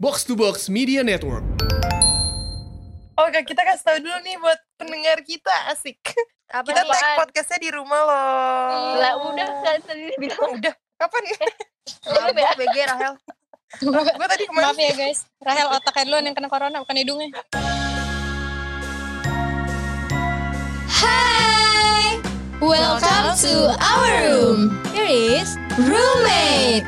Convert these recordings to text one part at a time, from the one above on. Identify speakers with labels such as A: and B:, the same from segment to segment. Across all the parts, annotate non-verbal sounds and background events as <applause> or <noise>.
A: Box to Box Media Network.
B: Oke, Oh, kita kasih tahu dulu nih buat pendengar kita asik.
C: Apa
B: Kita
C: nih?
B: tag podcastnya di rumah loh.
C: Lah udah kan tadi bilang
B: <laughs> udah. Kapan ya?
C: Belum ya?
B: Mabok, BG Rahel. Gue tadi kemarin
D: Maaf ya guys, Rahel otaknya duluan yang kena corona bukan hidungnya.
E: Hi! Welcome to our room. Here is roommate.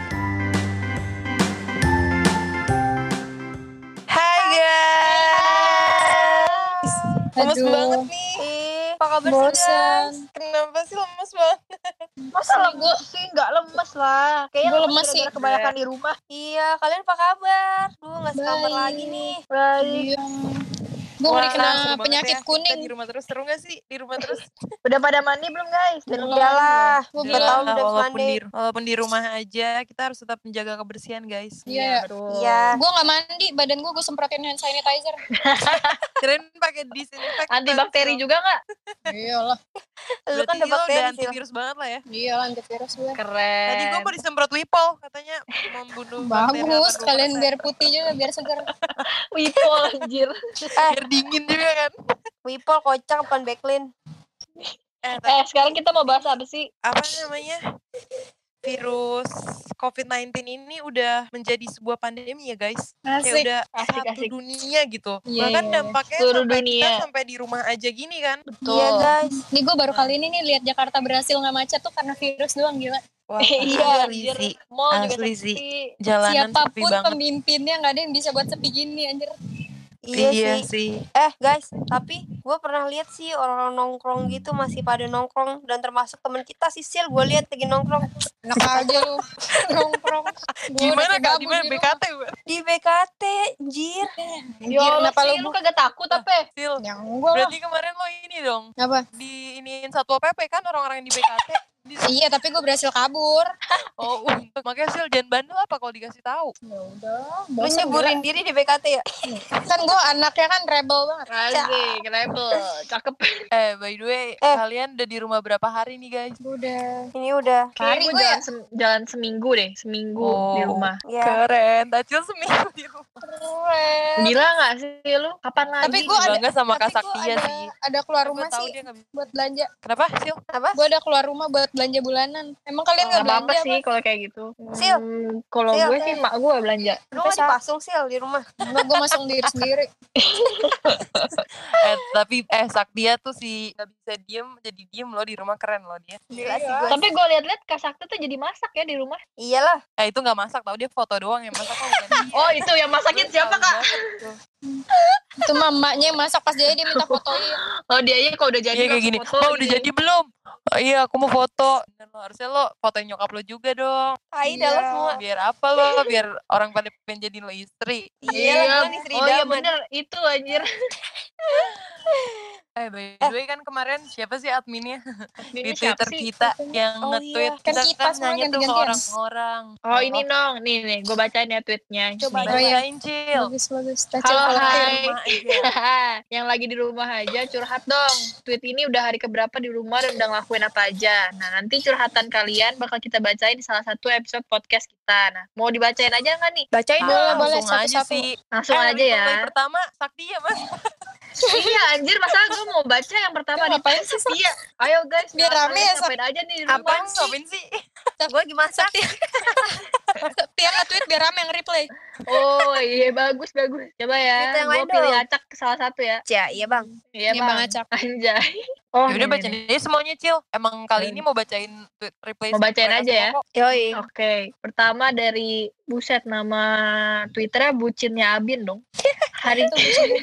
B: Hai guys. Lemes
D: Aduh.
B: banget nih.
C: Apa kabar sih
D: Bosan.
C: guys?
B: Kenapa sih lemes banget?
C: Masa lemes sih? Nggak lemes lah Kayaknya
D: Gua
C: lemes,
D: lemes sih.
C: gara-gara kebanyakan di rumah Iya, kalian apa kabar? Duh, nggak sekamar
D: Baik.
C: lagi nih Baik
D: Iya. Gue
B: Wah,
D: udah
B: seru
D: kena
B: banget
D: penyakit
B: ya. Kita
D: kuning.
B: di rumah terus seru gak sih? Di rumah terus.
C: Udah pada mandi belum guys?
D: Belum.
C: Udah lah
D: Gua
C: Udah
D: bilang.
C: tahu
B: Nah,
C: udah habis
B: walaupun
C: mandi
B: di, walaupun di rumah aja, kita harus tetap menjaga kebersihan guys.
D: Iya.
C: Iya
D: Gue gak mandi, badan gue gue semprotin hand sanitizer.
B: Keren pakai disinfektan.
F: Antibakteri juga nggak?
D: Iyalah,
C: Lu kan
B: Berarti
C: udah bakteri
B: udah
C: sih
B: antivirus banget lah ya.
D: iya lanjut virus gue.
F: Keren.
B: Tadi gue mau disemprot Wipol, katanya
D: <laughs>
B: membunuh bakteri
D: Bagus,
B: atau
D: kalian
B: kuman.
D: biar putih juga, biar segar.
F: Wipol
C: <laughs>
F: anjir.
B: biar dingin juga kan.
C: Wipol kocak bukan backlin
B: Eh, tapi
F: Eh, sekarang kita mau bahas apa sih?
B: apa namanya? Virus COVID-19 ini udah menjadi sebuah pandemi ya guys. Kayak
D: Asik.
B: udah
F: Asik,
B: satu
F: asik.
B: dunia gitu.
D: Iya,
B: Bahkan
D: iya, iya.
B: dampaknya
F: Seluruh
B: sampai kita
F: dunia.
B: sampai di rumah aja gini kan.
F: Betul.
C: Iya guys
D: Nih gue baru kali ini nih lihat Jakarta berhasil nggak macet tuh karena virus doang gila.
B: Wah,
F: <laughs> Iya,
B: asli
F: anjir.
B: sih.
F: Mall juga
B: Asli
F: sepi.
B: Jalanan sepi
D: Siapapun
B: banget.
D: pemimpinnya nggak ada yang bisa buat sepi gini anjir.
C: Iya,
B: iya
C: sih
B: sih.
C: Eh guys, tapi gue pernah lihat sih orang nongkrong gitu masih pada nongkrong dan termasuk temen kita Sisil gue lihat lagi nongkrong
D: Enak aja lu <laughs> nongkrong. Gua
B: Gimana
D: udah
B: kak?
D: kebabu
B: Gimana
D: di rumah.
B: BKT? Bu?
C: di BKT, anjir.
D: Anjir, kenapa lu
F: lu kagak takut apa?
B: Sil,
D: Yang gue lah.
B: Berarti kemarin lo ini dong
D: Apa?
B: di iniin satpol pp kan orang-orang yang di BKT.
D: <laughs>
B: Di-
D: Iya, tapi gue berhasil kabur.
B: oh untuk makanya Sil jangan bandel apa kalau dikasih tahu.
D: Ya udah,
C: Lu
D: bosan gila.
C: nyeburin diri di BKT ya?
D: kan gue anaknya kan rebel banget
F: Asik, rebel. Cakep.
B: Eh by the way
C: Eh.
B: kalian udah di rumah berapa hari nih guys?
D: udah
C: Ini udah.
D: Hari
F: Kayaknya gua
D: gue
F: jalan, sem- jalan seminggu deh, seminggu di
B: Oh.
F: rumah.
C: Ya.
B: Keren, Tacil seminggu di rumah.
D: keren
F: Gila gak sih lu? Kapan lagi?
D: Tapi gua ada-
B: Bangga sama Kak
D: Tapi gua
B: Saktia
D: ada,
B: sih.
D: ada keluar
B: Gua
D: rumah
B: tahu
D: sih
B: dia nggak bisa.
D: buat belanja
B: Kenapa Sil?
C: Apa?
D: gue ada keluar rumah buat belanja bulanan emang kalian
F: Gak
D: nggak
F: apa-apa
D: belanja
F: sih kalau kayak gitu.
C: Sil.
F: Hmm, kalau
C: Sil,
F: gue
C: Sil.
F: sih mak gue belanja.
C: Lu nggak dipasung sih di rumah.
D: gue masuk diri sendiri
B: Eh, tapi eh Saktia tuh si nggak bisa diem jadi diem lo di rumah keren lo dia.
C: Gila sih gue.
F: Tapi gue liat-liat Kak Sakti tuh jadi masak ya di rumah.
C: Iyalah.
B: Eh itu nggak masak tau dia foto doang yang masak kok bukan
F: <laughs>
B: dia.
F: Oh itu yang masakin siapa
B: Tahu
F: kak?
B: banget tuh.
D: itu mamanya yang masak pas jadi dia minta fotoin
F: Oh dia aja kalau udah jadi
B: Iya kayak
F: langsung
B: gini.
F: foto
B: oh, udah
F: gitu.
B: jadi belum? Oh, iya, aku mau foto. Bener lo, harusnya lo fotoin nyokap lo juga dong.
C: Tai
D: Iya.
C: dah lo semua.
B: Biar apa lo? Biar orang pada pengen jadi lo istri.
C: Iyalah gue Iya, nih Sri
F: oh iya
C: Daman.
F: bener itu anjir
B: Eh, by the way kan kemarin siapa sih adminnya di
F: Ini siapa
B: Twitter
F: sih?
B: kita yang
C: Oh,
B: nge-tweet
C: iya.
D: Kan kita
B: kan
D: semua
B: nanya tuh ke
D: ganti-gantian.
B: orang-orang.
F: Oh ini nong, nih nih gue bacain ya tweetnya
D: Coba.
F: Nih.
D: Oh, iya.
B: Bacain, Cil.
D: bagus bagus Tacil
F: Halo
D: kalau-
F: hai <laughs> Yang lagi di rumah aja curhat dong Tweet ini udah hari keberapa di rumah dan udah ngelakuin apa aja Nah nanti curhatan kalian bakal kita bacain di salah satu episode podcast kita Nah mau dibacain aja nggak nih?
D: bacain dulu
B: Ah,
D: boleh
B: langsung aja
D: satu-satu
B: sih.
F: Langsung
B: Eh,
F: aja ya
B: reply pertama Sakti ya, Mas.
F: <laughs> Iya anjir masa gue mau baca yang pertama
D: <laughs>
F: nih
D: ngapain sih
F: Iya ayo guys
D: Biar
F: nah, kalian
D: rame ya, Sob.
F: ngapain aja nih di rumah
B: Apaan sih? Apaan sih?
C: Gue dimasak.
D: tiap nge-tweet biar rame yang reply
F: Oh iya bagus bagus. Coba
C: Cerita
F: ya,
C: yang
F: gue
C: lain
F: pilih
C: dong.
F: acak salah satu ya.
C: Ya, iya bang.
F: Iya
D: Ini
F: bang.
D: Bang Acak.
F: Anjay. Oh
B: Ya udah
F: ini, ini.
B: bacain aja semuanya, Cil. Emang kali ini mau bacain tweet replay.
F: Mau bacain
B: mereka
F: aja ya.
B: semua kok.
C: Yoi.
F: Oke, pertama dari buset nama Twitternya bucinnya Abin dong. Hari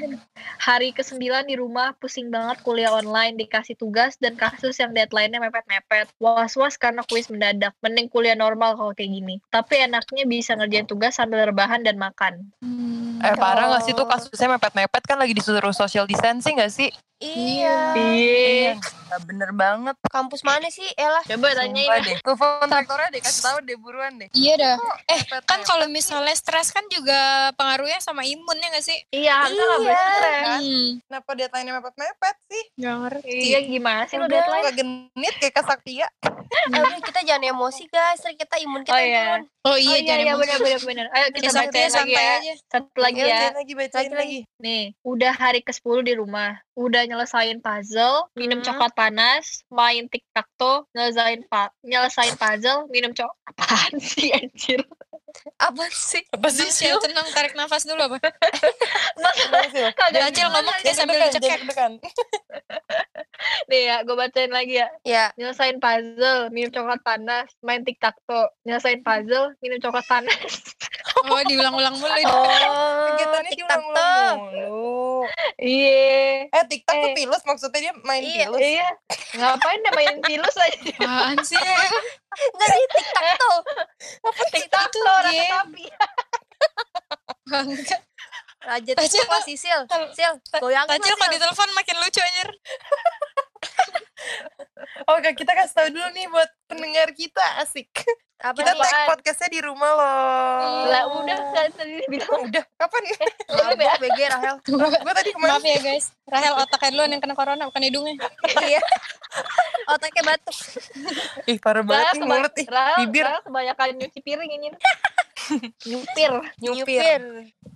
D: Hmm.
F: hari ke di rumah pusing banget kuliah online dikasih tugas dan kasus yang deadline-nya mepet-mepet. Was-was karena kuis mendadak. Mending kuliah normal kalau kayak gini. Tapi enaknya bisa ngerjain tugas sambil rebahan dan makan.
D: Hmm,
B: Eh parah gak sih
D: kalau-
B: tuh kasusnya mepet-mepet kan lagi disuruh social distancing gak sih?
C: Iya.
F: Iya.
B: Nggak Bener banget.
C: Kampus mana sih? Elah.
F: Coba
B: Sumpah
F: tanyain.
B: deh. Telepon rektornya deh, kasih tahu deh buruan deh.
D: Iya dah. Eh,
B: Cepet
D: kan
B: deh.
D: kalau misalnya stres kan juga pengaruhnya sama imunnya gak sih?
F: Iya, harusnya nggak boleh stres.
B: Kan?
D: Hmm,
B: Kenapa deadline-nya mepet-mepet sih?
D: gak ngerti.
F: Iya, gimana sih lo
B: Udah, Iya,
F: deadline?
B: nggak genit kayak kasaktia.
C: Eh, udah, kita jangan emosi guys. Ntar kita imun
F: Oh,
C: kita yang
F: iya.
C: turun.
D: Oh
F: Oh
D: iya,
F: iya,
D: jangan
F: iya
D: emosi.
F: benar benar benar. Ayo kita
D: Ya, santai,
F: bacain lagi
D: santai
F: ya.
D: aja.
F: Satu lagi
B: Iya,
F: ya.
B: bacain lagi, bacain
C: Lagi,
B: lagi.
F: Nih, udah hari ke-10 di rumah. Udah nyelesain puzzle, minum
C: Hmm.
F: coklat panas, main tic-tac-toe, nyelesain, pa- nyelesain puzzle, minum coklat. <laughs> Apaan sih, anjir?
C: Apa sih?
B: Apa
D: Tenang, Sil, ya, tenang, tarik nafas dulu apa?
F: Kagak
B: ya.
F: ya?
D: Acil ngomong dia sambil dicekek.
F: Nih ya, gue bacain lagi ya.
C: Ya.
F: Nyelesain puzzle, minum coklat panas, main tic-tac-toe, nyelesain puzzle, minum coklat panas. <laughs>
D: Oh, diulang-ulang mulu. itu.
C: Oh,
B: Kegiatannya
C: TikTok
B: diulang-ulang
C: tuh.
B: mulu.
F: Iya.
B: Eh, TikTok tuh
F: Eh.
B: pilus, maksudnya dia main
C: Iya,
B: pilus.
F: Iya, ngapain dia main pilus aja?
D: <laughs> Apaan sih?
C: Enggak sih TikTok tuh.
F: Tic-tac-toe, rasa
D: game.
F: tapi.
D: Bangga.
C: Raja
D: Acil,
C: TikTok lah Sisil. Sil, goyangin
D: Acil
C: lah,
D: kalau
C: Sil.
D: ditelepon makin lucu anjir.
B: Oke, Oh, kita kasih tahu dulu nih buat pendengar kita, asik.
C: Apa
B: Kita
C: nih?
B: tag podcastnya di rumah loh.
F: Lah udah kan tadi bilang ya.
B: Udah, kapan?
C: Mabok BG ya, Rahel.
B: Gue tadi kemarin
D: Maaf ya guys, Rahel otaknya duluan yang kena corona bukan hidungnya.
C: Iya. Otaknya batuk.
B: Ih, parah banget nih
F: Rahel
B: mulut
F: kebany-
B: ih.
F: Rahel-
B: bibir.
F: Rahel kebanyakan nyuci piring ini. <laughs> Nyupir.
B: Nyupir.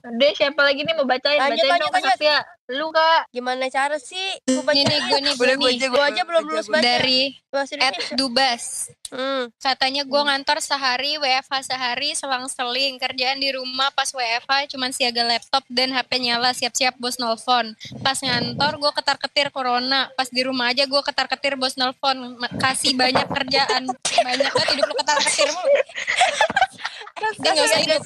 F: Udah siapa lagi nih mau bacain? bacain
C: Lanjut, lanjut,
F: dong Kak Saktia. Lu Kak.
C: Gimana cara sih? Gue baca
D: Ini gue nih, gue
B: Boleh gue
D: nih.
B: aja,
C: Gua aja belum
B: gua
C: lulus
B: aja.
C: baca.
D: Dari
C: bahasa
D: at
C: Indonesia.
D: Dubas.
C: Hmm.
D: Katanya gue ngantor sehari, WFH sehari, selang-seling. Kerjaan di rumah pas WFH cuman siaga laptop dan HP nyala, siap-siap bos nelfon. Pas ngantor gue ketar-ketir corona. Pas di rumah aja gue ketar-ketir bos nelfon. Ma- Kasih banyak kerjaan. Banyak banget hidup lu ketar-ketir mulu. Dia gak usah hidup.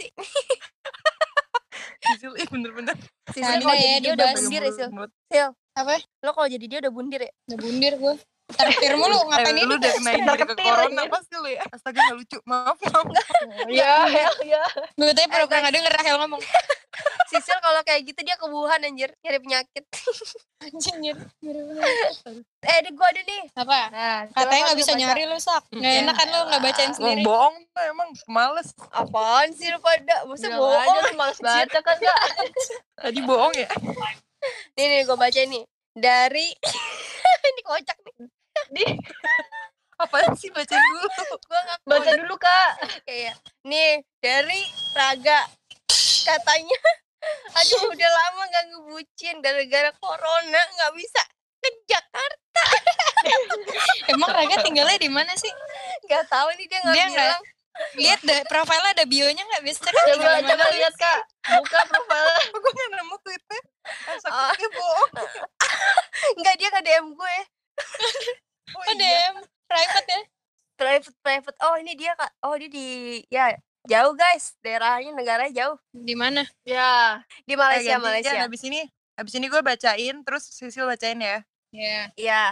B: Sisil, Ih, bener-bener.
C: Sisil
D: Canda
C: kalau
D: ya,
C: jadi dia
D: dia
C: udah
D: bahas.
C: bundir ya, Sil.
B: Mulut.
D: Apa?
C: Lo kalau jadi dia udah bundir ya?
D: Udah bundir gue. Ketar-ketir mulu,
B: Eh, lu
D: ngapain ini?
B: udah kena dari ke
F: Ketir
B: corona
F: aja.
B: pasti lu ya. Astaga, gak lucu. Maaf, maaf.
F: <laughs> Ya, ya, ya.
D: Gue tadi pura-pura gak denger Rahel ngomong.
C: Sisil kalau kayak gitu dia kebuhan anjir, nyari penyakit.
D: Anjing, ya.
C: Eh, ada gua ada nih.
D: Apa?
F: Nah, coba
D: Katanya
F: Kak,
D: nggak
F: lu
D: bisa
F: baca.
D: nyari lu sak. Nggak enak kan lu nggak bacain
B: Emang
D: sendiri.
B: bohong tuh, emang males.
C: Apaan sih lu pada? Masa
F: Bilang
C: bohong?
F: aja lu males baca kan <laughs> Kak.
B: Tadi bohong ya.
C: Nih nih gua baca nih. Dari <laughs> ini kocak nih.
B: Apaan sih baca dulu? <laughs>
C: Gua enggak
F: Baca dulu Kak.
C: kayak nih dari Raga katanya <laughs> aduh udah lama gak ngebucin gara-gara corona nggak bisa ke Jakarta
D: Emang Raga tinggalnya di mana sih?
C: nggak tahu nih dia nggak
D: Dia nggak-
C: bilang
D: Lihat deh profilnya ada bionya nggak bisa kan
F: Coba
D: tinggal di
F: coba
D: mana?
F: lihat Kak. Buka profil.
B: Gue gak nemu tweetnya. Astaga, dia bohong.
C: nggak dia nggak DM gue
B: Oh,
D: Oh,
B: iya.
D: dem. Private ya.
C: private private oh ini dia kak oh dia di ya jauh guys daerahnya negaranya jauh
D: Di mana?
F: Ya.
B: Eh,
C: di Malaysia
B: ganti,
C: Malaysia
B: Jan, Abis ini, abis ini gue bacain, terus Sisil bacain ya.
D: Ya.
C: ya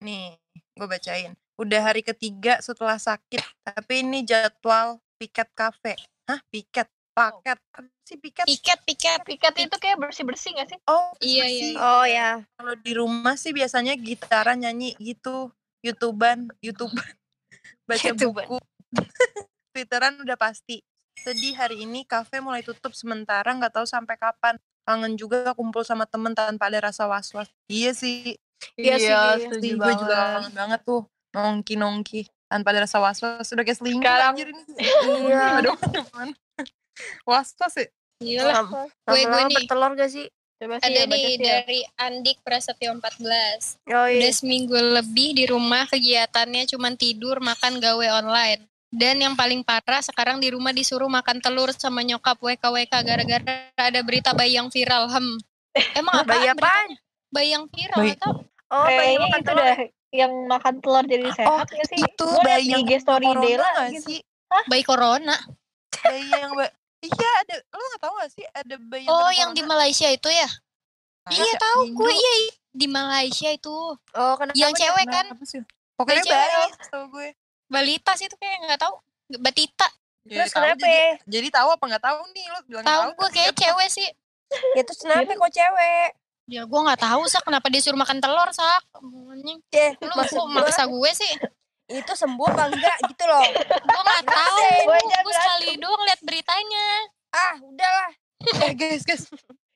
B: Nih, gue bacain. Udah hari ketiga setelah sakit, tapi ini jadwal piket kafe. Hah, piket? Paket? Apa sih piket?
D: Piket piket.
F: Piket itu kayak bersih-bersih gak sih?
B: Oh,
D: Iya
B: bersih.
D: iya.
C: oh ya <laughs>
B: Kalau di rumah sih biasanya gitaran nyanyi gitu, youtuban, youtuban, <laughs> baca
C: YouTuber.
B: buku, twitteran udah pasti. Sedih hari ini kafe mulai tutup sementara nggak tahu sampai kapan. Kangen juga kumpul sama temen tanpa ada rasa was-was. Iya sih,
C: Iya sih, iya.
B: sih, gue juga kangen banget tuh nongki-nongki tanpa ada rasa was-was. Udah kayak selingkuh
F: Sekarang-
B: anjir ini.
C: iya
B: <laughs> Aduh, apaan. was-was ya?
D: Iyalah. Gue gue
C: lama-lama
D: nih.
C: bertelur gak sih
F: Coba sih
D: Ada
F: ya, baca
D: nih
F: sih ya.
D: dari Andik Prasetyo 14.
C: oh
D: Udah
C: iya
D: seminggu lebih di rumah kegiatannya cuman tidur, makan, gawe online. Dan yang paling parah sekarang di rumah disuruh makan telur sama nyokap WKWK gara-gara ada berita bayi yang viral. <laughs> Hem. Emang apa?
C: Ah, bayi apaan
D: Bayi yang viral
B: Bayi-
D: atau
C: oh bayi
F: Kayaknya
C: makan
F: itu
C: telur
F: dah yang makan telur jadi sehat nggak sih?
B: itu
F: Gua liat
B: bayi
F: di
B: yang
F: IG story
B: corona
F: Dela
B: nggak
F: gitu.
B: sih?
D: bayi corona?
B: Bayi yang ba- Iya ada, lo gak tau gak sih ada bayi
D: Oh,
B: kena
D: yang
B: corona?
D: di Malaysia itu ya? iya
B: Masa
D: tahu
B: Indo
D: gue iya iya. di Malaysia itu.
C: oh kenapa
D: yang
C: dia-
D: cewek
B: kena
D: kan
B: apa sih? Pokoknya
D: cewek
B: bayi,
D: dong.
B: tau gue.
D: balita sih itu kayak nggak tahu. Batita.
F: Iya,
C: terus
B: Iya, tahu,
C: kenapa ya?
B: Jadi, jadi tahu apa nggak tahu nih lo bilang
D: Tahu gue
B: tapi
D: kayak cewek sih.
C: ya terus kenapa kok cewek
D: Ya gue nggak tahu sak kenapa dia suruh makan telur sak. Anjing,
C: Ceh,
D: Lu
C: Eh, maksud
D: kok
C: gua,
D: maksa gue sih?
C: itu sembuh apa enggak gitu loh.
D: Gue nggak tahu.
C: Gua jangan
D: Gue sekali doang lihat beritanya.
C: Ah, udahlah.
B: Eh guys, guys.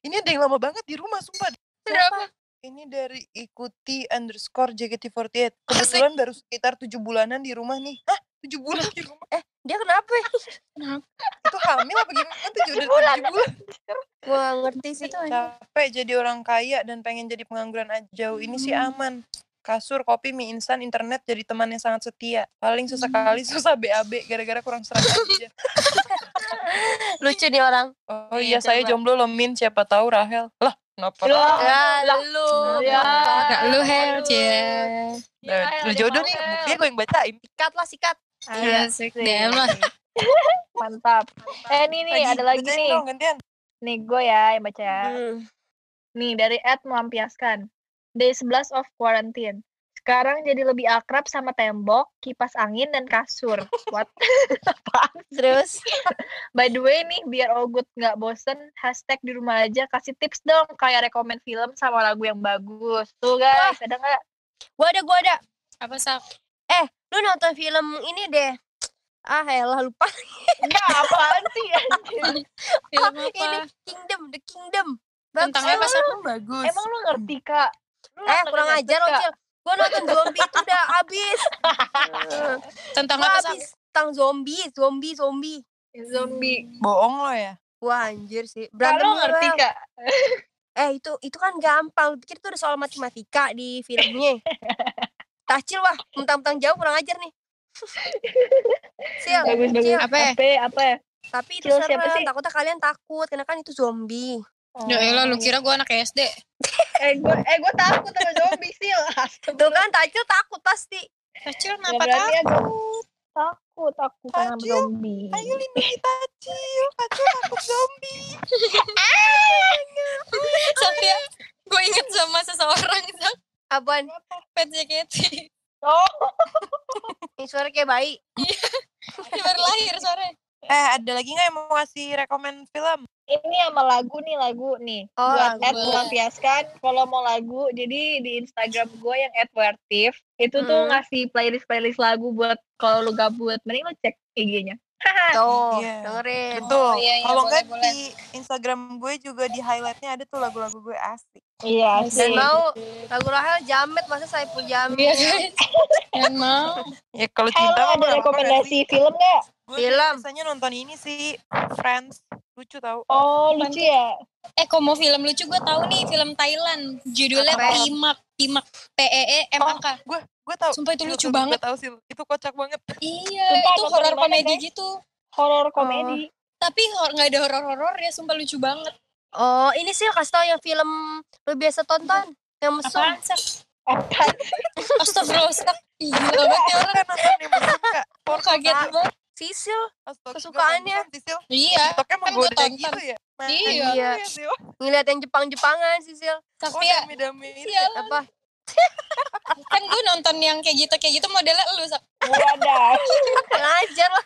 B: Ini ada yang lama banget di rumah, sumpah.
D: Berapa?
B: Ini dari ikuti underscore JKT48. Kebetulan baru sekitar 7 bulanan di rumah nih. Hah? 7 bulan di rumah?
C: Dia kenapa ya?
B: Itu hamil apa gimana? Kan 7 bulan. 7 bulan.
C: Gua nggak ngerti sih.
B: Capek jadi orang kaya dan pengen jadi pengangguran aja. Jauh ini sih
F: Hmm.
B: aman. Kasur, kopi, mie instan, internet jadi teman yang sangat setia. Paling
F: Hmm.
B: sesekali susah BAB gara-gara kurang serang aja.
C: Lucu nih orang.
B: Oh iya,
C: Iya,
B: saya
C: coba.
B: jomblo loh Min. Siapa tahu Rahel. Lah, kenapa?
F: Loh,
D: Oh,
B: Rahel?
C: Ya,
F: Lah,
C: lu. Iya.
F: ya.
D: Gak lu Hel, cie.
B: Nah,
F: iya,
B: lu jodoh nih, buktinya gue yang bacain.
C: Sikat lah, sikat.
D: Iya.
C: Iya.
D: Asik,
F: Iya.
D: damn lah.
F: Mantap. Eh, ini nih, ada lagi
B: bacain
F: nih.
B: dong, gantian.
F: Nih, gue ya yang baca. ya.
C: Hmm.
F: Nih, dari Ed melampiaskan. Day 11 of quarantine. Sekarang jadi lebih akrab sama tembok, kipas angin, dan <laughs> kasur. What?
C: Terus
F: By the way nih, biar all good nggak bosen, hashtag di rumah aja kasih tips dong kayak rekomen film sama lagu yang bagus. Tuh guys, ada nggak?
C: gua ada gua ada.
D: Apa sak?
C: Lu nonton film ini deh. Ah, elah lupa.
F: Enggak, apaan sih? anjir?
D: Film
C: Ah, ini
D: apa?
C: Kingdom, The Kingdom.
D: Tentang apa sak?
B: Bagus.
F: <laughs> Emang lu ngerti, Kak? Lu
C: Eh,
F: nonton
C: kurang
F: Netflix
C: ajar
F: nggak?
C: Ocil. Gua nonton zombie itu
F: <laughs>
C: udah habis.
D: Tentang
C: Gua
D: apa sak?
C: habis tentang zombie, zombie, zombie.
F: Zombie.
B: bohong lo ya?
C: Wah, anjir sih.
F: Kalau
C: Berantem
F: ngerti,
C: doang.
F: Kak?
C: Eh, itu itu kan gampang. Lu Pikir itu ada soal matematika di filmnya.
F: <laughs>
C: Tacil wah, mentang-mentang jauh kurang ajar nih. Sil,
F: Bagus, bagus.
C: Cil,
D: Apa ya?
F: Apa, apa?
C: tapi itu
F: Cil, siapa
C: serem.
F: sih?
C: Takutnya kalian takut karena kan itu zombie.
D: Ya elah, lu kira gue anak SD.
F: Oh. Eh, gue eh, gua takut sama zombie, Sil. <laughs>
C: Tuh kan Tacil takut pasti.
D: Kecil
F: Nggak
D: kenapa
F: berani
D: tak?
F: ya, gua takut aku karena
B: Acil,
F: zombie.
B: Ayo lindungi Tacil, Tacil takut zombie.
D: Sofia, gue inget ya. sama seseorang sak.
C: Apaan?
D: Pet JKT.
F: Oh,
C: Ini suara kayak bayi.
D: <laughs> Dia baru lahir sore.
B: Eh, ada lagi nggak yang mau ngasih rekomen film?
F: ini sama lagu nih lagu nih
C: Oh,
F: buat
C: lagu.
F: Ed melampiaskan kalau mau lagu jadi di Instagram gue yang @wertif itu tuh
C: Mm.
F: ngasih playlist playlist lagu buat kalau lu gabut mending lu cek IG-nya
C: Tuh,
B: Iya.
C: dengerin.
B: Betul.
D: iya, iya,
B: Kalau
D: boleh,
B: nggak
D: boleh.
B: di Instagram gue juga di highlightnya ada tuh lagu-lagu gue asik.
F: <laughs> iya sih
C: Dan mau lagu Rahel jamet masa saya pun jamet.
D: Iya guys. Jangan mau.
B: Ya kalau
F: eh lu
B: cinta mah nggak apa-apa
F: ada
B: nggak
F: rekomendasi
B: sih?
F: film nggak
B: Gue
C: Film.
B: biasanya nonton ini sih Friends, lucu tau.
F: oh lucu ya
D: Eh, kok mau film lucu gue tahu nih film Thailand. Judulnya
C: Apa?
D: Pimak. Pimak. P E E M A K.
B: Gue gue tau.
D: Sumpah itu lucu
B: Gue
D: banget.
B: Tau sih, itu kocak Oh, banget.
D: Iya,
F: Sumpah,
D: itu
F: nonton
D: horor
F: di mana,
D: komedi
F: Teh?
D: gitu.
F: horor komedi
D: Tapi hor- nggak ada horor-horor ya, sumpah lucu banget.
C: Oh, ini sih kasih tau yang film lu biasa tonton yang mesum.
D: Apaan sak?
F: Apaan?
D: Astagfirullah sak. Iya banget
B: <laughs>
D: ya orang.
B: Kan nonton yang mesum
D: <laughs>
B: nggak?
D: Orang kaget
C: Apaan?
D: banget.
C: Sisil.
B: Astaga,
C: Kesukaannya.
B: bagusan, Sisil.
D: Iya.
B: TikToknya
D: kan gue
B: menggoda
D: tonton.
B: gitu ya. Mana
D: Iya.
B: lu ya, Sil?
C: Ngeliat yang Jepang-Jepangan Sisil.
B: Oh,
D: Tapi ya,
B: dami-dami itu.
D: iya.
C: Apa?
D: kan gue nonton yang kayak gitu kayak gitu modelnya lu sak.
F: wadah <laughs>
C: Kurang ajar lah.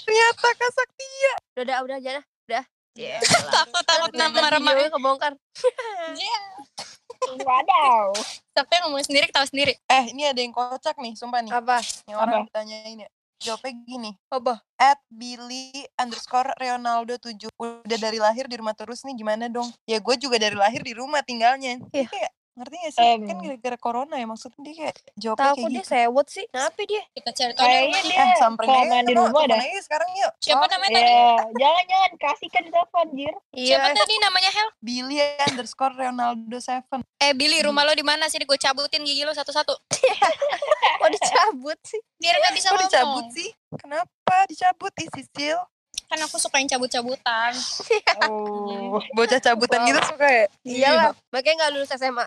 B: Ternyata Kak Saktia.
C: Udah, udah, udah, udah. Udah.
F: Iya,
C: Ya.
D: Takut takut nama
C: Nama
D: Rama.
C: videonya kebongkar.
F: wadah
D: Tapi ngomong sendiri ketawa sendiri.
B: Eh, ini ada yang kocak nih, sumpah nih.
C: Apa?
B: Yang orang ditanyain ya. Jawabnya gini. Apa? At Billy underscore Ronaldo 7. Udah dari lahir di rumah terus nih gimana dong? Ya gue juga dari lahir di rumah tinggalnya. Dia kayak, ngerti gak sih?
F: Em.
B: Kan gara-gara corona ya maksudnya dia kayak jawabnya
C: Tahu
B: kayak
C: kok dia
B: gitu.
C: sewot sih. Kenapa dia?
D: Kita cari tahu deh.
F: kayaknya dia
B: Eh, samperin
F: kelamaan di
B: Ro.
F: rumah
B: Telepon
F: dah
B: aja sekarang yuk.
D: Siapa namanya tadi?
F: Iya, jangan jangan kasihkan telepon jir
D: Siapa
C: Iya.
D: tadi namanya Hel?
B: Billy underscore Ronaldo 7.
D: Eh Billy, rumah lo di mana sih? Gue cabutin gigi lo satu-satu.
C: Kok dicabut sih?
D: Biar gak
B: Kok
D: bisa ngomong.
B: dicabut sih? Kenapa dicabut? Ih, Sisil.
D: Kan aku suka yang cabut-cabutan.
F: oh.
B: <laughs> Bocah cabutan gitu suka ya?
C: Iyalah, Iya makanya nggak lulus
D: <laughs>
C: SMA.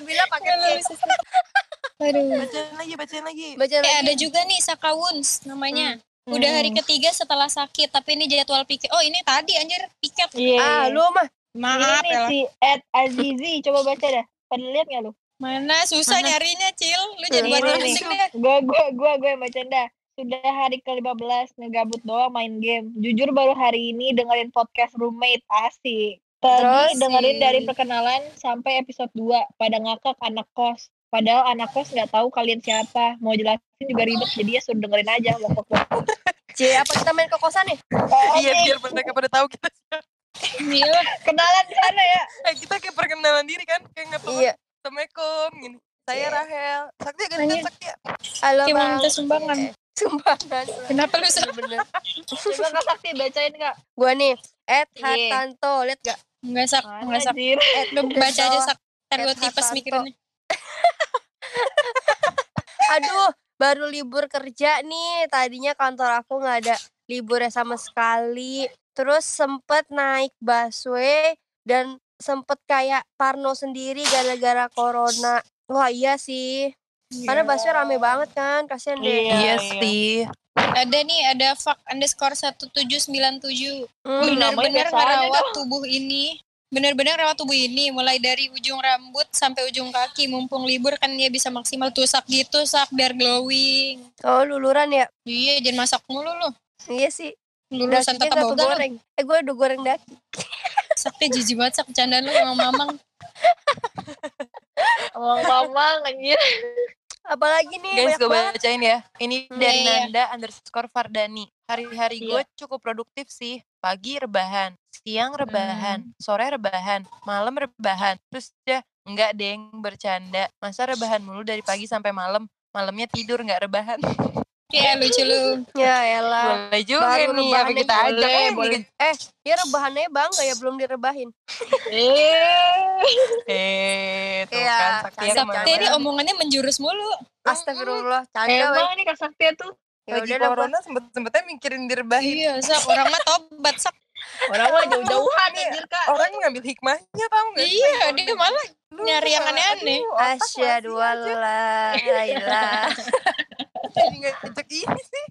C: Ambilnya pakai C.
B: Bacain lagi, bacain lagi.
C: Bacaan
D: Eh
C: lagi.
D: ada juga nih Saka Wuns namanya.
F: Hmm.
D: Udah hari ketiga setelah sakit, tapi ini jadwal piket. Oh ini tadi anjir piket.
F: iya
C: Ah, lu mah
F: Ini
D: Maaf
F: nih
D: ya.
F: si Ed Azizi, coba baca dah. Pada lihat nggak lu?
D: Mana susah nyarinya, Cil. Lu jadi
F: Ini
D: buat
F: nih.
D: pusing deh.
F: Gue gue gue gue yang baca dah. Sudah hari ke-15, ngegabut doang main game. Jujur baru hari ini dengerin podcast roommate, asik. Tadi
D: Terus
F: dengerin
D: sih.
F: dari perkenalan sampai episode 2, pada ngakak anak kos. Padahal anak kos nggak tahu kalian siapa. Mau jelasin juga ribet, jadi ya suruh dengerin aja. Wok, wok, wok.
C: Cie, apa kita main ke kosan ya?
B: Iya biar mereka pada tahu kita.
D: Mila,
F: Kenalan di sana ya.
B: Eh, kita kayak perkenalan diri kan, kayak nggak tahu.
C: Iya.
B: Assalamualaikum. Gini. Saya Rahel. Sakti kan
F: Nanya.
B: Sakti.
C: Halo
D: Tim
C: bang.
D: minta sumbangan.
C: Eh, Sumbangan.
D: Kenapa lu sa-
C: Bener.
F: Coba Kak Sakti bacain, Kak.
C: Gua nih, Ed
F: Iya.
C: Hartanto, lihat gak?
D: Nggak sak, nggak sak.
F: Anjir.
C: Ed
D: Lu baca aja
C: Hartanto.
D: sak. Ntar gue
C: Ed
D: tipes
C: Hartanto.
D: mikirinnya.
C: Aduh, baru libur kerja nih. Tadinya kantor aku nggak ada liburnya sama sekali. Terus sempet naik busway dan sempet kayak Parno sendiri gara-gara corona. Wah iya sih. Karena
D: Iya.
C: busway rame banget kan, kasihan deh.
F: Iya,
B: sih.
D: Ada nih, ada fuck underscore 1797.
C: Hmm.
D: Bener-bener
F: namanya biasa aja
D: ngerawat tubuh ini. Bener-bener ngerawat tubuh ini. Mulai dari ujung rambut sampai ujung kaki. Mumpung libur kan dia bisa maksimal tuh sak gitu, sak biar glowing.
C: Oh luluran ya?
D: Iya, jangan masak mulu lu.
C: Iya sih.
D: Lulusan
C: Dakinya
D: tata
C: nggak
D: boga lu.
C: kegoreng. Eh gue udah goreng daki.
D: Sakti jijik banget sak candaan lu sama mamang.
F: Iya. Emang mamang, anjir.
C: Apalagi nih
B: Guys,
C: banyak
B: gue
C: banget.
B: bacain ya. Ini dari
D: Iya, iya.
B: Nanda underscore Fardani. Hari-hari gue cukup produktif sih. Pagi rebahan, siang rebahan, sore rebahan, malam rebahan. Terus ya, enggak deng, bercanda. Masa rebahan mulu dari pagi sampai malam? Malamnya tidur nggak rebahan.
D: Ya lucu lu.
C: Ya elah.
B: Boleh juga
C: Baru
B: nih,
C: rebahan
B: apa kita
C: ya, aja.
B: ajak
C: Boleh,
B: eh,
C: boleh. Eh, dia rebahannya bangga ya belum direbahin.
B: Eh, tuh
C: Iya,
B: kan Sakti
C: Iya,
D: Sakti
C: kemarin.
D: ini omongannya menjurus mulu.
C: Astagfirullah, canda weh.
F: Emang nih Kak Sakti tuh.
C: Ya
B: Lagi
C: udah dah, gua-
B: corona sempet-sempetnya mikirin direbahin.
D: Iya, sak orang mah tobat sak.
F: Orang mah <laughs> jauh-jauhan, anjir, Kak.
B: Orang ngambil hikmahnya tau gak? sih?
D: Iya, dia malah
B: Lu
D: nyari yang
B: malah,
D: aneh-aneh.
B: aduh, otak
C: Asyhadu
B: masih aja.
C: alla la ilaha.
F: Ah,
B: jadi nggak ajak ini
F: <laughs>
B: sih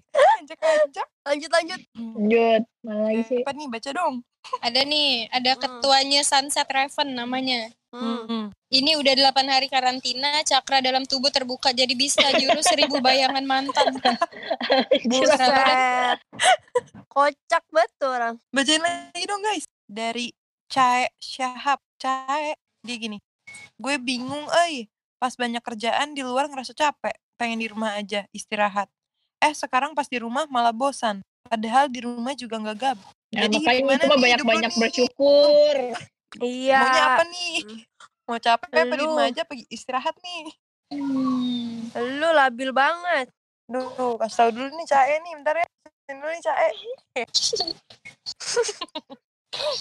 B: ajak ajak
C: Lanjut lanjut.
F: Lanjut, Oh mana lagi sih?
B: apa nih baca dong
D: Ada nih, ada
C: Hmm.
D: ketuanya Sunset Raven namanya.
B: <laughs>
C: Hmm.
D: Ini udah 8 hari karantina, cakra dalam tubuh terbuka jadi bisa jurus seribu bayangan mantan.
C: Buset. Kocak banget tuh orang.
B: bacain lagi dong guys dari Cae Syahab Cae dia gini gue bingung eh pas banyak kerjaan di luar ngerasa capek pengen di rumah aja istirahat eh sekarang pas di rumah malah bosan padahal di rumah juga nggak gabut
F: Nah,
B: Jadi
F: makanya
B: gimana
F: itu mah
B: nih
F: banyak-banyak
B: hidup lu nih?
F: bersyukur. Ya.
C: Iya.
B: maunya apa nih
D: Mm.
B: mau capek apa di
C: Lu.
B: rumah aja pergi istirahat nih
D: Hmm.
C: Lu labil banget.
B: Duh, kasih tau dulu nih Cae nih, bentar ya. Kasih dulu nih Cae.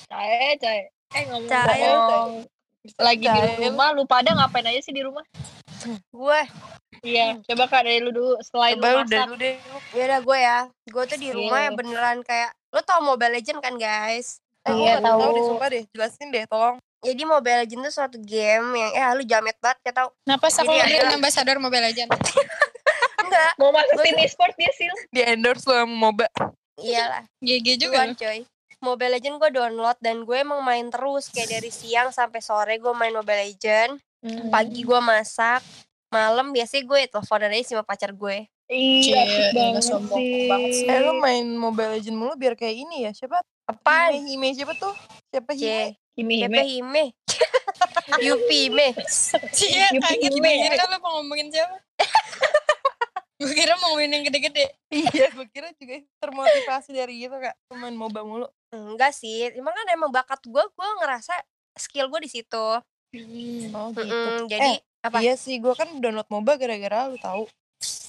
F: Cae, cae. Eh, ngomong
C: Cae,
F: bohong. Lagi di
B: Cae.
F: rumah, lu pada ngapain aja sih di rumah?
C: Gue
F: Iya, coba Kak dari lu dulu, selain
B: Coba
F: lu
B: lu deh,
F: masak.
B: lu deh. lu.
C: ya udah gue ya. Gue tuh di rumah
F: Iya.
C: ya beneran kayak lo tau Mobile Legend kan guys?
B: Eh,
F: Iya,
B: gua nggak tahu
F: tahu.
B: deh, sumpah deh. Jelasin deh, tolong.
C: Jadi Mobile Legend tuh suatu game yang eh lu jamet banget ya tau.
D: Kenapa sak lu
C: Ini
D: jadi
C: ada-
D: ambassador Mobile Legends?
C: Enggak.
F: Mau masuk
C: Gua-
F: tim e-sport ya, dia sih.
B: Di endorse lo sama MOBA.
C: Iyalah.
D: GG juga. ya.
C: Duluan coy. Mobile Legend gue download dan gue emang main terus kayak dari siang sampai sore gue main Mobile Legend.
F: Hmm.
C: pagi gue masak malam biasanya gue teleponan aja sama pacar gue
F: Iya, asik
D: Cie,
F: banget
D: sombong
F: sih.
D: banget sih.
B: Eh, lu main Mobile Legend mulu biar kayak ini ya. Siapa?
C: apaan
B: Hime, Hime siapa tuh? Siapa Hime? <laughs>
C: c
F: Kimi
C: siapa
F: Hime.
C: hime <laughs> yupi hime
D: Iya,
F: Yupi
D: kaget
F: Ime.
D: gue kira kan lu mau ngomongin siapa? gue kira mau ngomongin yang gede-gede.
B: Iya, gue kira juga termotivasi dari gitu, Kak. Lu Main MOBA mulu.
C: enggak sih emang kan emang bakat gue gue ngerasa skill gue di situ
B: Oh,
F: gitu.
C: Mm-mm, jadi apa?
B: Iya sih, gue kan download MOBA gara-gara lu tahu.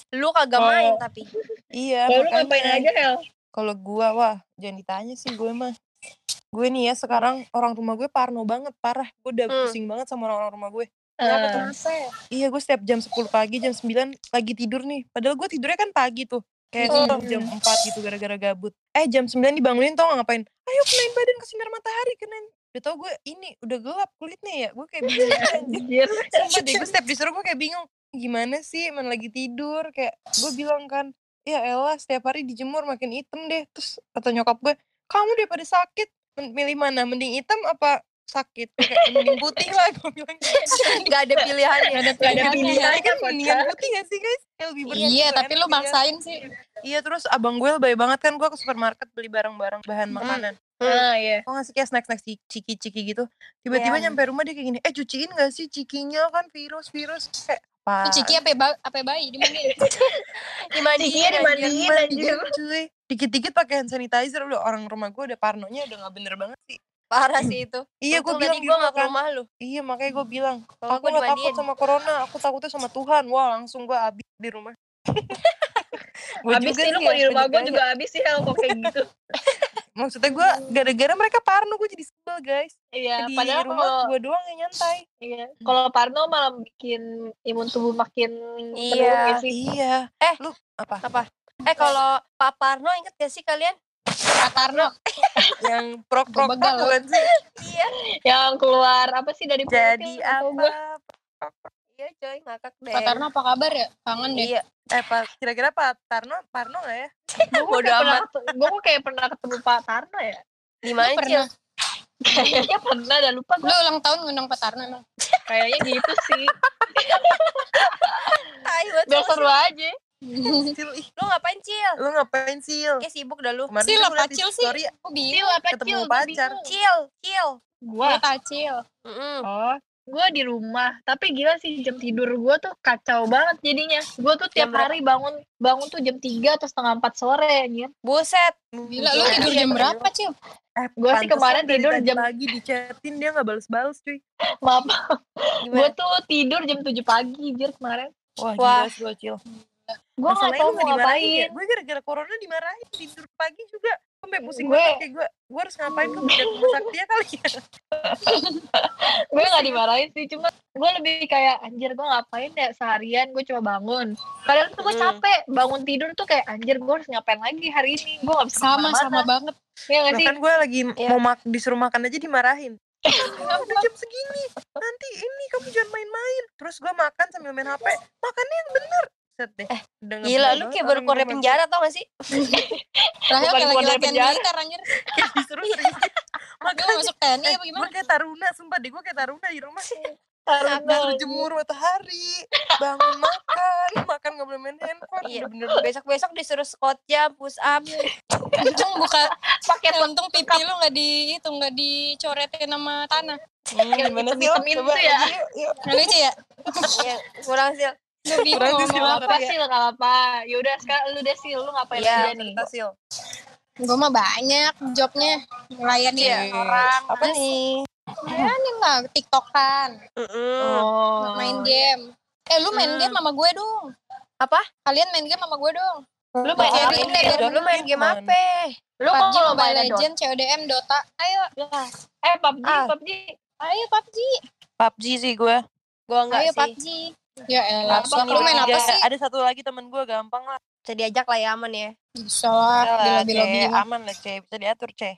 C: lu kagak main tapi <laughs>
B: Iya,
F: Kalau lu
B: makanya.
F: ngapain aja, Hel?
B: Kalau gua wah, jangan ditanya sih gue mah. Gue nih ya sekarang orang rumah gue parno banget, parah. Gue udah
C: Hmm.
B: pusing banget sama orang-orang rumah gue.
C: Kenapa
F: Ah.
C: tuh?
B: Iya, gue setiap jam 10 pagi, jam 9 lagi tidur nih. Padahal gue tidurnya kan pagi tuh. Kayak
D: Oh.
B: tidur jam 4 gitu gara-gara gabut. Eh, jam 9 dibangunin tau gak ngapain? Ayo kenain badan ke sinar matahari, kenain. Udah tau gue ini udah gelap kulitnya ya. Gue kayak bingung. anjir.
F: Anjir.
B: Sumpah deh, gue setiap disuruh gue kayak bingung. Gimana sih, emang lagi tidur. Kayak gue bilang kan, ya elah setiap hari dijemur makin hitam deh. Terus kata nyokap gue, kamu daripada sakit, men- milih mana? Mending hitam apa sakit pakai mending putih lah gue bilang
C: Gak ada pilihan ya.
F: Gak ada pilihan
B: Tapi kan mendingan putih gak sih guys Ya, lebih bersyukur
D: Iya,
B: kan,
D: tapi lu
B: iya.
D: maksain sih.
B: iya terus abang gue lebay banget kan gue ke supermarket beli barang-barang bahan makanan
F: Ah, iya.
B: Kok ngasih kayak snack-snack ci- ciki-ciki gitu Tiba-tiba nyampe rumah dia kayak gini Eh cuciin gak sih cikinya kan virus-virus Kayak
D: Lu
B: apa
D: ciki apa ya? ba- apa bayi ya? dimandi.
C: Dimandiin
F: Cikinya
C: aja.
F: dimandiin anjir.
B: cuy Dikit-dikit pakai hand sanitizer udah orang rumah gue udah parnonya udah gak bener banget sih
C: Parah sih itu.
B: Iya gue
C: Untung
B: bilang
C: tadi gue
B: gitu
C: gak ke
B: kan.
C: rumah lu.
B: Iya makanya gue bilang
C: Kalau
B: Aku
C: gue
B: gak takut
C: dimandiin.
B: sama corona Aku takutnya sama Tuhan Wah langsung gue abis di rumah <laughs> Gua
F: Abis
B: juga
F: sih ya, lu
B: sih
F: mau di
B: harus
F: rumah gue
B: punya
F: juga abis sih kalau kayak gitu.
B: Maksudnya gue gara-gara mereka parno gue jadi sebel guys
F: <laughs> Iya,
B: Di
F: padahal kalau
B: rumah gue doang yang nyantai
F: iya, kalau Parno malah bikin imun tubuh makin
C: Iya.
F: menurun ya sih.
B: Iya
C: Eh.
B: Lu apa?
C: Eh kalau Pak Parno inget gak sih kalian?
D: Pak Tarno.
B: Yang prok-prok
D: Begal, lu.
B: bukan sih?
F: Yang keluar apa sih
B: <laughs>
F: dari
B: Jadi
F: perutnya, atau
B: apa?
F: gua-
C: Iya coy ngakak deh.
D: Pak Tarno apa kabar ya? Kangen deh.
C: Iya.
B: Eh Pak, kira-kira Pak Tarno, Parno gak ya?
F: Gue
C: Bodo
F: kayak, pernah
C: amat.
F: ketu- gua kok kayak pernah ketemu Pak Tarno ya.
C: Di
D: Lu
C: mana
D: pernah?
F: Kayaknya pernah dan lupa
D: Lu
F: gue.
D: ulang tahun ngundang Pak Tarno emang.
F: Kayaknya gitu sih.
C: Ayo,
F: Biar seru aja.
B: Cil, ih,
C: Lu ngapain Cil?
B: lu ngapain Cil?
C: Kayak sibuk dah lu.
B: Kemarin
D: Cil
B: tuh gua
D: apa
B: liat di
D: Cil sih?
B: story,
D: Gua bingung.
F: Cil apa
B: Ketemu
F: Cil? Gua
B: pacar.
F: bingung.
C: Cil, Cil.
F: Gua.
D: Lu tacil.
C: Mm-mm.
F: Oh, gue di rumah. Tapi gila sih jam tidur gue tuh kacau banget jadinya. Gue tuh tiap
C: Jam berapa?
F: hari bangun bangun tuh jam 3 atau setengah 4 sore anjir.
C: Buset.
D: Gila, lu tidur jam berapa,
B: Iya,
D: Cil?
B: Eh,
F: Gua sih
B: pantesan
F: kemarin
B: dari
F: tidur
B: tadi
F: jam-
B: pagi di chatin dia gak bales-bales cuy.
F: Maaf, gue
C: Gimana?
F: tuh tidur jam 7 pagi anjir kemarin.
B: Wah, gila
C: Wah.
B: sih gua Cil.
F: Gue gak
B: Masalahnya
F: tau
B: lu
F: mau
B: dimarahin ya?
F: ngapain.
B: Gue gara-gara corona dimarahin tidur pagi juga. Sampai pusing
F: Gue-
B: banget kayak gue. Gue harus ngapain ke bidang rumah sakti ya kali ya.
F: gue gak dimarahin sih cuma gue lebih kayak anjir gue ngapain ya seharian gue cuma bangun kadang tuh gue
C: Hmm.
F: capek bangun tidur tuh kayak anjir gue harus ngapain lagi hari ini gue gak bisa
D: Sama sama
F: kemana-mana
D: banget.
F: ya gak
B: Lah
F: sih
B: kan gue lagi
C: Iya.
B: mau mak disuruh makan aja dimarahin.
C: <laughs>
B: Udah jam segini, nanti ini kamu jangan main-main. Terus gue makan sambil main HP. Makannya yang bener. Set deh. Udah nggak
C: Eh, Gila,
B: bener
C: lu
B: banget
C: kayak baru
B: orang
C: keluar dari
B: rumah.
C: penjara tau gak sih?
D: Rahel
F: Bukan
D: kayak lagi
F: keluar dari
D: latihan
F: penjara.
D: militer anjir.
B: Kayak disuruh
C: Iya,
B: serius.
D: Gue
B: Makanya
D: masuk TNI
B: eh,
D: apa gimana?
B: gue
F: <laughs>
B: kayak taruna, sumpah deh gue kayak taruna di rumah.
F: Taruna,
B: Disuruh
F: anjir.
B: jemur matahari, bangun makan, makan gak boleh main handphone.
C: Iya.
B: Udah bener
C: <laughs> Besok-besok disuruh squat jam, push up.
D: Untung buka
F: pakai
D: eh, untung pipi lu nggak di itu nggak dicoretin sama tanah.
B: hmm, Gimana sih?
F: hitam itu ya
D: Nggak lucu ya?
C: <laughs> Iya, kurang sih.
D: Lu
F: <laughs>
D: bingung
B: Berarti
D: mau
B: silakan.
D: ngomong apa?
F: apa sih gak apa yaudah sekarang lu deh sih lu ngapain
C: Iya,
F: aja nih
B: Tasil.
D: Gue mah banyak jobnya melayani
F: Iya.
D: orang.
B: Apa nih?
D: Melayani lah, tiktokan,
F: oh Hmm.
D: main game. Eh lu main game sama gue dong.
C: Apa?
D: Kalian main game sama gue dong.
F: lu
D: Main
F: main
D: game,
F: game
D: Iya,
C: Lu main game apa?
F: lu
D: PUBG,
F: kalau
D: Mobile
F: main Dota
D: Legends, CODM, Dota. Ayo,
F: eh PUBG
C: Ah.
F: PUBG
D: ayo PUBG.
B: PUBG sih gue.
C: Gua
D: ayo
C: enggak sih.
D: PUBG. Ya elah,
F: Apa,
D: sok lu main apa
B: Ada-
D: sih?
B: Ada satu lagi temen gue gampang lah.
C: Bisa diajak lah ya aman ya.
D: Bisa lah,
B: Udah
D: di
B: lah,
D: lobby-lobby.
B: Ce.
D: mah.
B: aman lah Ce, bisa diatur Ce.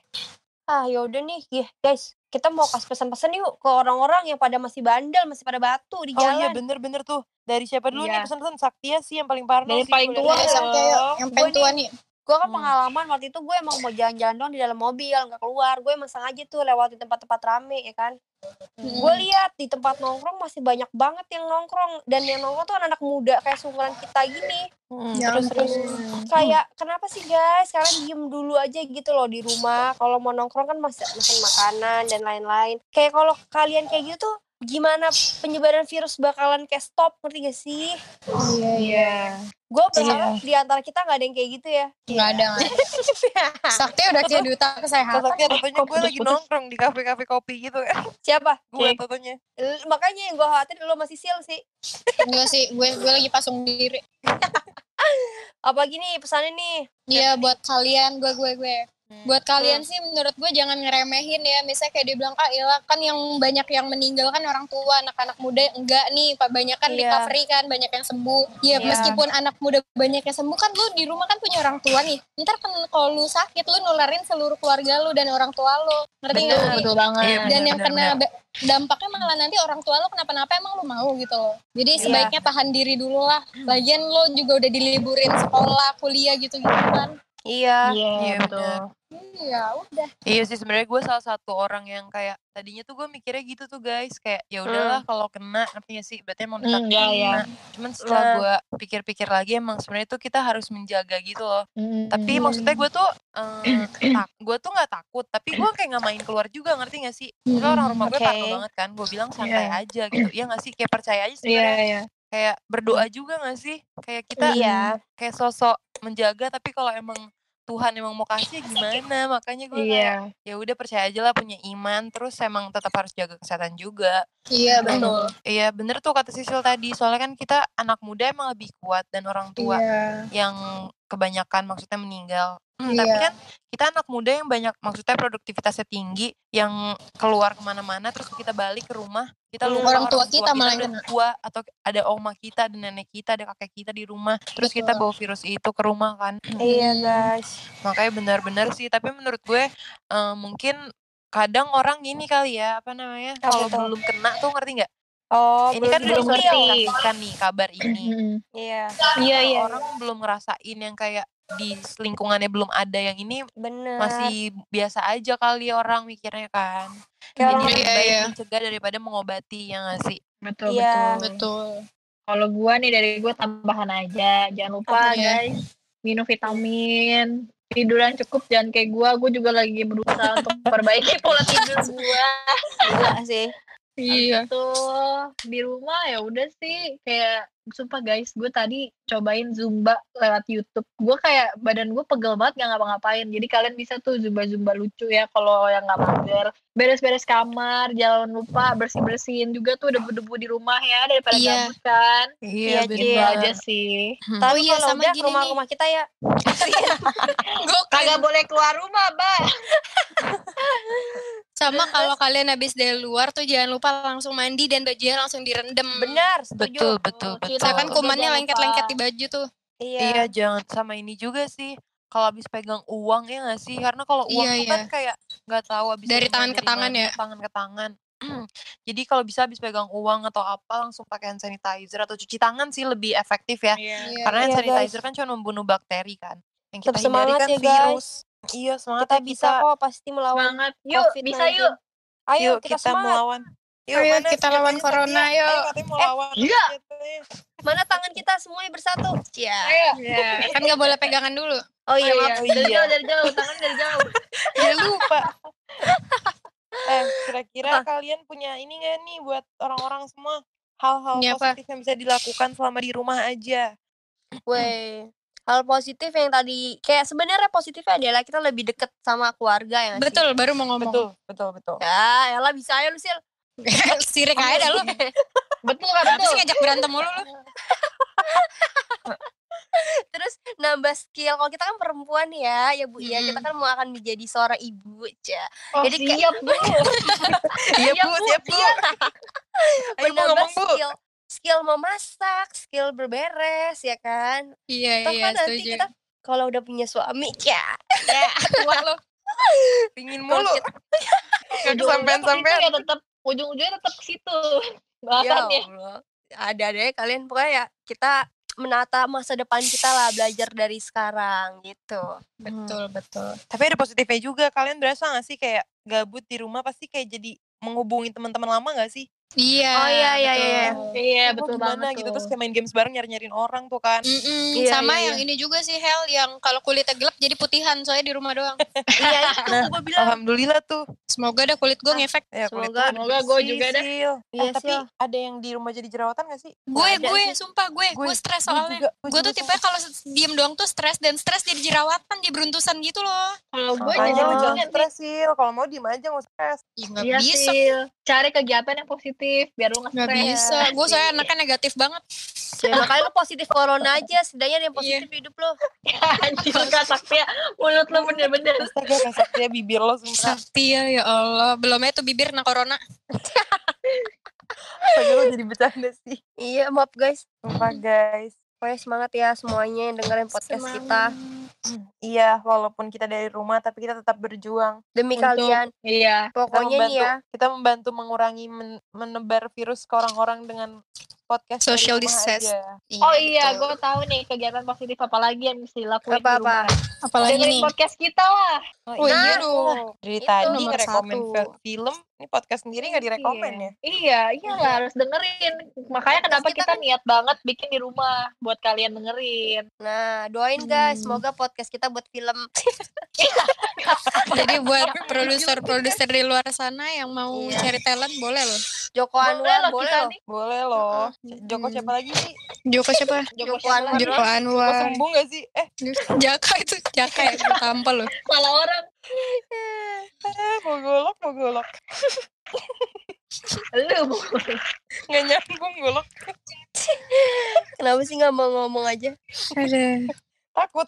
C: Ah yaudah nih Gih, guys kita mau kasih pesan-pesan yuk ke orang-orang yang pada masih bandel masih pada batu di
B: Oh iya
C: jalan.
B: bener-bener tuh. Dari siapa dulu nih
F: Iya.
B: pesan-pesan Saktia sih yang paling parno
F: Dari
B: sih.
F: paling
B: gua
F: tua
D: Ayo,
B: liat.
D: Sakti, ayo. Yang
C: Gua
D: pengen
C: nih-
D: tua nih.
C: Gue kan pengalaman waktu itu gue emang mau jalan-jalan doang di dalam mobil nggak keluar. Gue emang sengaja tuh lewatin tempat-tempat rame ya kan. Gue lihat di tempat nongkrong masih banyak banget yang nongkrong dan yang nongkrong tuh anak-anak muda kayak seumuran kita gini.
B: Hmm,
F: Iya.
D: Ya
B: terus terus.
C: Kayak kenapa sih guys? Sekarang diem dulu aja gitu loh di rumah. Kalau mau nongkrong kan masih makan makanan dan lain-lain. Kayak kalau kalian kayak gitu tuh gimana penyebaran virus bakalan kayak stop ngerti gak sih?
D: Iya, iya.
C: Gue berharap di antara kita nggak ada yang kayak gitu ya.
D: Nggak ada, nggak ada.
B: <laughs>
D: Sakti udah kayak duta
B: Kalau
D: kesehatan.
B: Saktia tentunya
F: Kok
B: gue lagi
F: putus-putus?
B: nongkrong di kafe-kafe kopi gitu kan.
C: Siapa?
B: Gue tentunya.
C: L- makanya yang gue khawatir lo masih sil sih.
D: Enggak sih, gue gue lagi pasung diri.
C: Apalagi nih pesannya nih.
D: Iya buat kalian, gue gue gue. Buat kalian sih menurut gue jangan ngeremehin ya. Misalnya kayak dibilang ah ilah kan yang banyak yang meninggal kan orang tua, anak-anak muda enggak nih. Pak banyak kan
C: Iya.
D: recovery kan, banyak yang sembuh. Iya
B: Iya.
D: meskipun anak muda banyak yang sembuh kan lu di rumah kan punya orang tua nih. Ntar kan kalau lu sakit lu nularin seluruh keluarga lu dan orang tua lu. Ngerti
F: betul
D: nggak?
F: betul banget
B: Iya,
D: dan
B: benar,
D: yang
B: benar,
D: kena da- dampaknya malah nanti orang tua lo kenapa-napa emang lo mau gitu loh. Jadi sebaiknya tahan diri dulu lah. Lagian gitu, lo juga udah diliburin sekolah, kuliah gitu-gitu kan.
C: Iya.
F: iya
B: Iya,
F: betul ya udah
B: Iya sih sebenarnya gue salah satu orang yang kayak tadinya tuh gue mikirnya gitu tuh guys kayak ya udahlah kalau kena ngerti gak sih berarti emang
F: Hmm,
B: ditakdir
F: iya, iya.
B: kena. Cuman setelah
C: Nah.
B: gue pikir-pikir lagi emang sebenarnya tuh kita harus menjaga gitu loh. Tapi
F: Hmm.
B: maksudnya gue tuh eh,
F: <clears throat>
B: tak- gue tuh nggak takut tapi gue kayak nggak main keluar juga ngerti gak sih? Soalnya orang rumah gue parno
C: Oke.
B: banget kan gue bilang santai
F: Hmm, Iya.
B: aja gitu. Iya gak sih kayak percaya aja
F: iya
B: sebenarnya
F: iya
B: kayak berdoa juga gak sih? Kayak kita
C: Iya.
B: kayak sosok menjaga tapi kalau emang Tuhan emang mau kasih ya gimana makanya gue kayak
F: iya
B: ya udah percaya aja lah punya iman terus emang tetap harus jaga kesehatan juga
D: Iya betul.
B: iya bener tuh kata Sisil tadi soalnya kan kita anak muda emang lebih kuat dan orang tua
F: iya
B: yang kebanyakan maksudnya meninggal Hmm, tapi
D: Iya.
B: kan kita anak muda yang banyak maksudnya produktivitasnya tinggi yang keluar kemana-mana terus kita balik ke rumah kita
C: Hmm.
B: lupa
D: Iya, Orang tua kita malah
B: udah tua atau ada oma kita ada nenek kita ada kakek kita di rumah terus kita bawa virus itu ke rumah kan
C: Iya
D: Hmm.
C: guys.
B: makanya benar-benar sih tapi menurut gue eh, mungkin kadang orang ini kali ya apa namanya
D: Iya,
C: Apa
B: kalau
C: tuh?
B: belum kena tuh ngerti nggak
C: Oh,
B: ini kan belum
F: belum
C: ngerti.
F: ngerti.
B: disaksikan nih kabar
D: <clears throat>
B: ini
F: Mm-mm.
C: Iya,
F: iya iya
B: orang belum ngerasain yang kayak di lingkungannya belum ada yang ini
C: bener.
B: masih biasa aja kali orang mikirnya kan
C: Kayak
B: jadi
C: orang-
B: lebih
D: Iya,
B: baik
D: iya.
B: mencegah daripada mengobati ya yang ngasih
F: betul
C: Iya.
F: betul
D: Betul.
F: Kalau gua nih dari gua tambahan aja. Jangan lupa
D: Iya.
F: guys, minum vitamin, tidur yang cukup jangan kayak gua. Gua juga lagi berusaha untuk memperbaiki pola tidur gua.
C: gila sih.
D: Iya.
F: Tuh, di rumah ya udah sih kayak sumpah guys, gue tadi cobain zumba lewat YouTube. Gua kayak badan gue pegel banget gak ngapa-ngapain. Jadi kalian bisa tuh zumba-zumba lucu ya kalau yang nggak mager. Beres-beres kamar, jangan lupa bersih-bersihin juga tuh debu-debu di rumah ya daripada
D: Iya.
F: gabut kan.
C: Iya,
B: bener.
F: Gitu
C: Iya.
F: aja sih.
C: Tapi
D: iya,
C: kalau
D: sama
C: udah
D: gini
C: ke
D: nih.
C: rumah-rumah kita ya.
D: Gokil. kan
F: Kagak boleh keluar rumah, Mbak.
D: <laughs> Sama kalau kalian habis dari luar tuh jangan lupa langsung mandi dan bajunya langsung direndam.
C: Benar,
B: betul
C: setuju.
B: betul betul
F: Kita
D: Misalkan
F: Betul.
D: kumannya
F: Jangan
D: lengket-lengket
F: lupa.
D: di baju tuh.
B: Iya
C: Iya.
B: jangan sama ini juga sih kalau habis pegang uang ya nggak sih karena kalau uang
D: Iya,
B: tuh kan kayak nggak tahu habis
D: Dari tangan ke tangan ya?
B: tangan ke tangan <clears throat> jadi kalau bisa habis pegang uang atau apa langsung pakai hand sanitizer atau cuci tangan sih lebih efektif ya
D: Iya.
B: karena hand
C: Iya, guys.
B: sanitizer kan cuma membunuh bakteri kan yang kita
C: Tetap
B: hindari
C: semangat
B: kan
C: ya,
B: virus iya semangat
C: Kita
B: ya
C: bisa kok pasti melawan
F: Semangat. Yuk,
C: COVID-19.
F: bisa yuk.
C: Ayo
B: yuk
C: kita,
B: kita,
C: semangat.
B: melawan Yuk,
D: Ayo,
B: mana
D: kita lawan
B: senjatanya,
D: corona,
B: Satria?
D: yuk.
B: Ayo, katanya mau
C: Eh,
B: lawan
F: iya.
B: senjatanya.
C: Mana tangan kita semuanya bersatu.
D: Iya.
F: Ayo.
D: Kan nggak boleh pegangan dulu.
C: Oh
F: Iya,
C: iya,
F: iya.
C: maaf.
F: Dari
B: iya.
F: jauh, dari jauh. Tangan dari jauh.
B: Dia Iya, lupa. <laughs> eh, kira-kira kalian punya ini gak nih buat orang-orang semua hal-hal
D: Ini apa?
B: positif yang bisa dilakukan selama di rumah aja?
C: Weh. Hal positif yang tadi kayak sebenarnya positifnya adalah kita lebih deket sama keluarga ya. nggak sih?
D: Betul, baru mau ngomong.
B: Betul, betul,
C: <laughs>
B: betul.
C: Ya, elah bisa aja lu Sil.
D: <laughs>
C: gitu.
D: Sirik aja dah lu.
F: Betul kan?
D: Kenapa
F: Betul.
D: sih ngajak berantem mulu lu?
C: Terus nambah skill. Kalau kita kan perempuan ya, ya Bu ya,
D: Mm-mm.
C: kita kan mau akan menjadi seorang ibu, ya.
F: Oh,
C: Jadi kayak-
F: siap, <laughs> Bu.
B: Iya, Bu, siap, Bu. Ayo, Bu,
C: Menambah
B: ngomong, Bu.
C: Nah, skill skill memasak, skill berberes ya kan.
D: Iya,
C: Toh
D: iya,
C: kan nanti
D: setuju.
C: kita kalau udah punya suami <laughs> ya.
D: Ya, tua lu.
B: Pingin
C: kalau
B: mulu.
C: kita-
B: <laughs> Gak kesampean-sampean.
F: Ya tetap ujung-ujungnya tetap ke situ. <laughs>
C: Ya
F: Bahasannya.
C: Allah. Ada-ada kalian pokoknya ya kita menata masa depan kita lah belajar dari sekarang gitu.
D: Betul, betul.
B: Tapi ada positifnya juga. Kalian berasa gak sih kayak gabut di rumah pasti kayak jadi menghubungi teman-teman lama gak sih?
D: Iya.
C: Oh, iya, iya,
D: betul.
C: iya,
F: Iya,
B: Lu
F: betul
B: gimana
F: banget
B: gitu
F: tuh.
B: terus kayak main games bareng nyari-nyariin orang tuh kan.
D: Mm-mm,
C: Iya,
D: sama
C: iya,
D: yang ini juga sih Hel yang kalau kulitnya gelap jadi putihan soalnya di rumah doang.
C: Iya itu gue bilang.
B: Alhamdulillah tuh.
D: Semoga dah kulit gue ngefek.
B: Ya, kulit lu
C: Semoga-
F: semoga gua
B: bersih,
F: juga dah.
B: Sil.
C: Iya,
B: Eh, tapi
C: Sil.
B: ada yang di rumah jadi jerawatan gak sih?
D: Gue
C: ada
D: gue
C: sih.
D: sumpah gue gue stres soalnya.
B: juga,
D: Gue tuh
B: juga
D: tipe kalau diem doang tuh stres dan stres jadi jerawatan, jadi beruntusan gitu loh.
F: Kalau gue
B: Makanya
F: jadi
B: lu jangan
F: mendingan
B: stres Sil. Kalau mau diem aja nggak usah stres.
D: Ih,
F: sih.
D: nggak
F: Iya
D: bisa.
F: sih. Cari kegiatan yang positif biar lu nggak <laughs>
D: Gak
F: stres.
D: bisa, gue soalnya anaknya negatif banget.
C: Ya, makanya lu positif corona aja, setidaknya ada yang positif di hidup lu.
F: Anjir, Kak Saktia, mulut lu bener-bener.
B: Astaga, Kak Saktia bibir lo
D: <laughs>
B: sumpah.
D: Saktia ya Allah, belum aja tuh bibir kena corona.
B: Astaga, lo jadi bercanda sih.
C: Iya, maaf guys.
B: Sumpah guys.
C: Pokoknya semangat ya semuanya yang dengerin podcast kita.
B: Iya, walaupun kita dari rumah tapi kita tetap berjuang.
C: Demi
F: Untuk-
C: kalian.
F: Iya.
B: Kita
C: Pokoknya nih
B: membantu,
C: ya.
B: kita membantu mengurangi men- menebar virus ke orang-orang dengan podcast dari
D: Social
B: rumah
D: distance.
B: aja.
F: Oh iya,
D: betul.
F: gue tahu nih kegiatan positif apa lagi yang mesti lakuin di
C: Apa-apa?
F: rumah.
D: apalagi
F: Dengerin
D: nih.
F: podcast kita lah.
D: Oh iya dong.
B: Dari
D: Itu
B: tadi
D: nomor
B: ngerekomen
D: satu.
B: fe- film, ini podcast sendiri nggak direkomen ya?
F: Iya, iya lah harus dengerin. Makanya kenapa
G: kita
F: kita niat banget bikin di rumah buat kalian dengerin.
C: Nah, doain guys,
D: Hmm.
C: semoga podcast kita buat <laughs> film.
D: Jadi buat produser-produser di luar sana yang mau
C: Iya.
D: cari talent boleh loh.
C: Joko
F: Boleh
C: Anwar,
F: loh
C: boleh
F: kita
C: loh.
F: nih.
B: Boleh loh. Joko siapa lagi sih?
D: Joko siapa?
C: Joko,
F: siapa?
C: Anwar.
D: Joko
B: Joko
D: Anwar.
B: sembuh gak sih? Eh,
D: Jaka itu Jaka ya, gua tampol loh.
F: Malah orang
B: eh, mau golok, mau golok.
F: lu.
C: Ya.
B: Nggak nyambung golok,
C: Kenapa sih nggak mau ngomong aja?
D: Ada.
B: takut.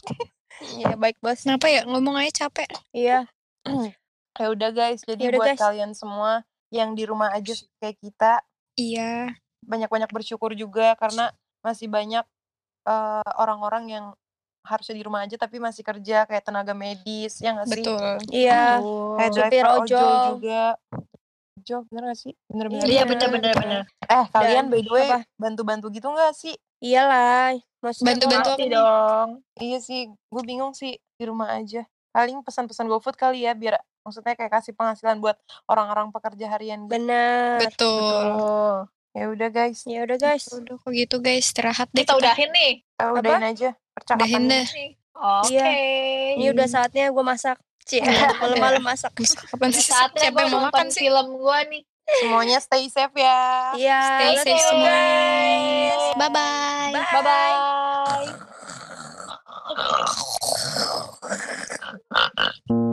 C: Iya, baik bos.
D: Kenapa ya ngomong aja capek?
C: Iya.
B: Ya udah guys, jadi
C: Yaudah,
B: buat
C: guys.
B: kalian semua yang di rumah aja kayak kita,
D: Iya.
B: banyak-banyak bersyukur juga karena masih banyak eh, orang-orang yang harusnya di rumah aja tapi masih kerja kayak tenaga medis ya nggak sih?
D: Betul.
C: Iya.
B: Kayak
C: Supir
B: driver ojol.
C: ojol.
B: juga. Ojol bener gak sih? Bener-bener.
C: Iya,
F: Iya bener-bener bener.
B: Eh kalian
C: Dan
B: by the way
C: apa?
B: bantu-bantu gitu gak sih?
C: Iyalah. Iya Maksudnya
D: Bantu-bantu
F: Pasti
D: apa nih?
F: dong.
B: Iya sih, gue bingung sih di rumah aja. Paling pesan-pesan GoFood kali ya biar maksudnya kayak kasih penghasilan buat orang-orang pekerja harian gitu.
C: Benar.
D: Betul.
B: Oh. Ya udah guys,
C: Ya udah guys.
D: Udah kok gitu guys, istirahat deh
F: Kita
D: kita.
F: udahin nih.
B: kita udahin aja percakapan
D: Udahin
B: ini.
D: deh.
F: Oke.
C: Iya. Ini udah saatnya gue masak. Cie, malam-malam <laughs> masak.
D: Mas, Kapan
F: Udah
D: sih?
F: saatnya
D: Siapa
F: gue
D: yang mau
F: nonton
D: makan sih?
F: film gue nih.
B: Semuanya stay safe ya.
C: Iya.
D: Stay
C: let's
D: safe
C: go,
D: semua.
C: guys.
D: Bye-bye.
C: Bye-bye.
F: Bye.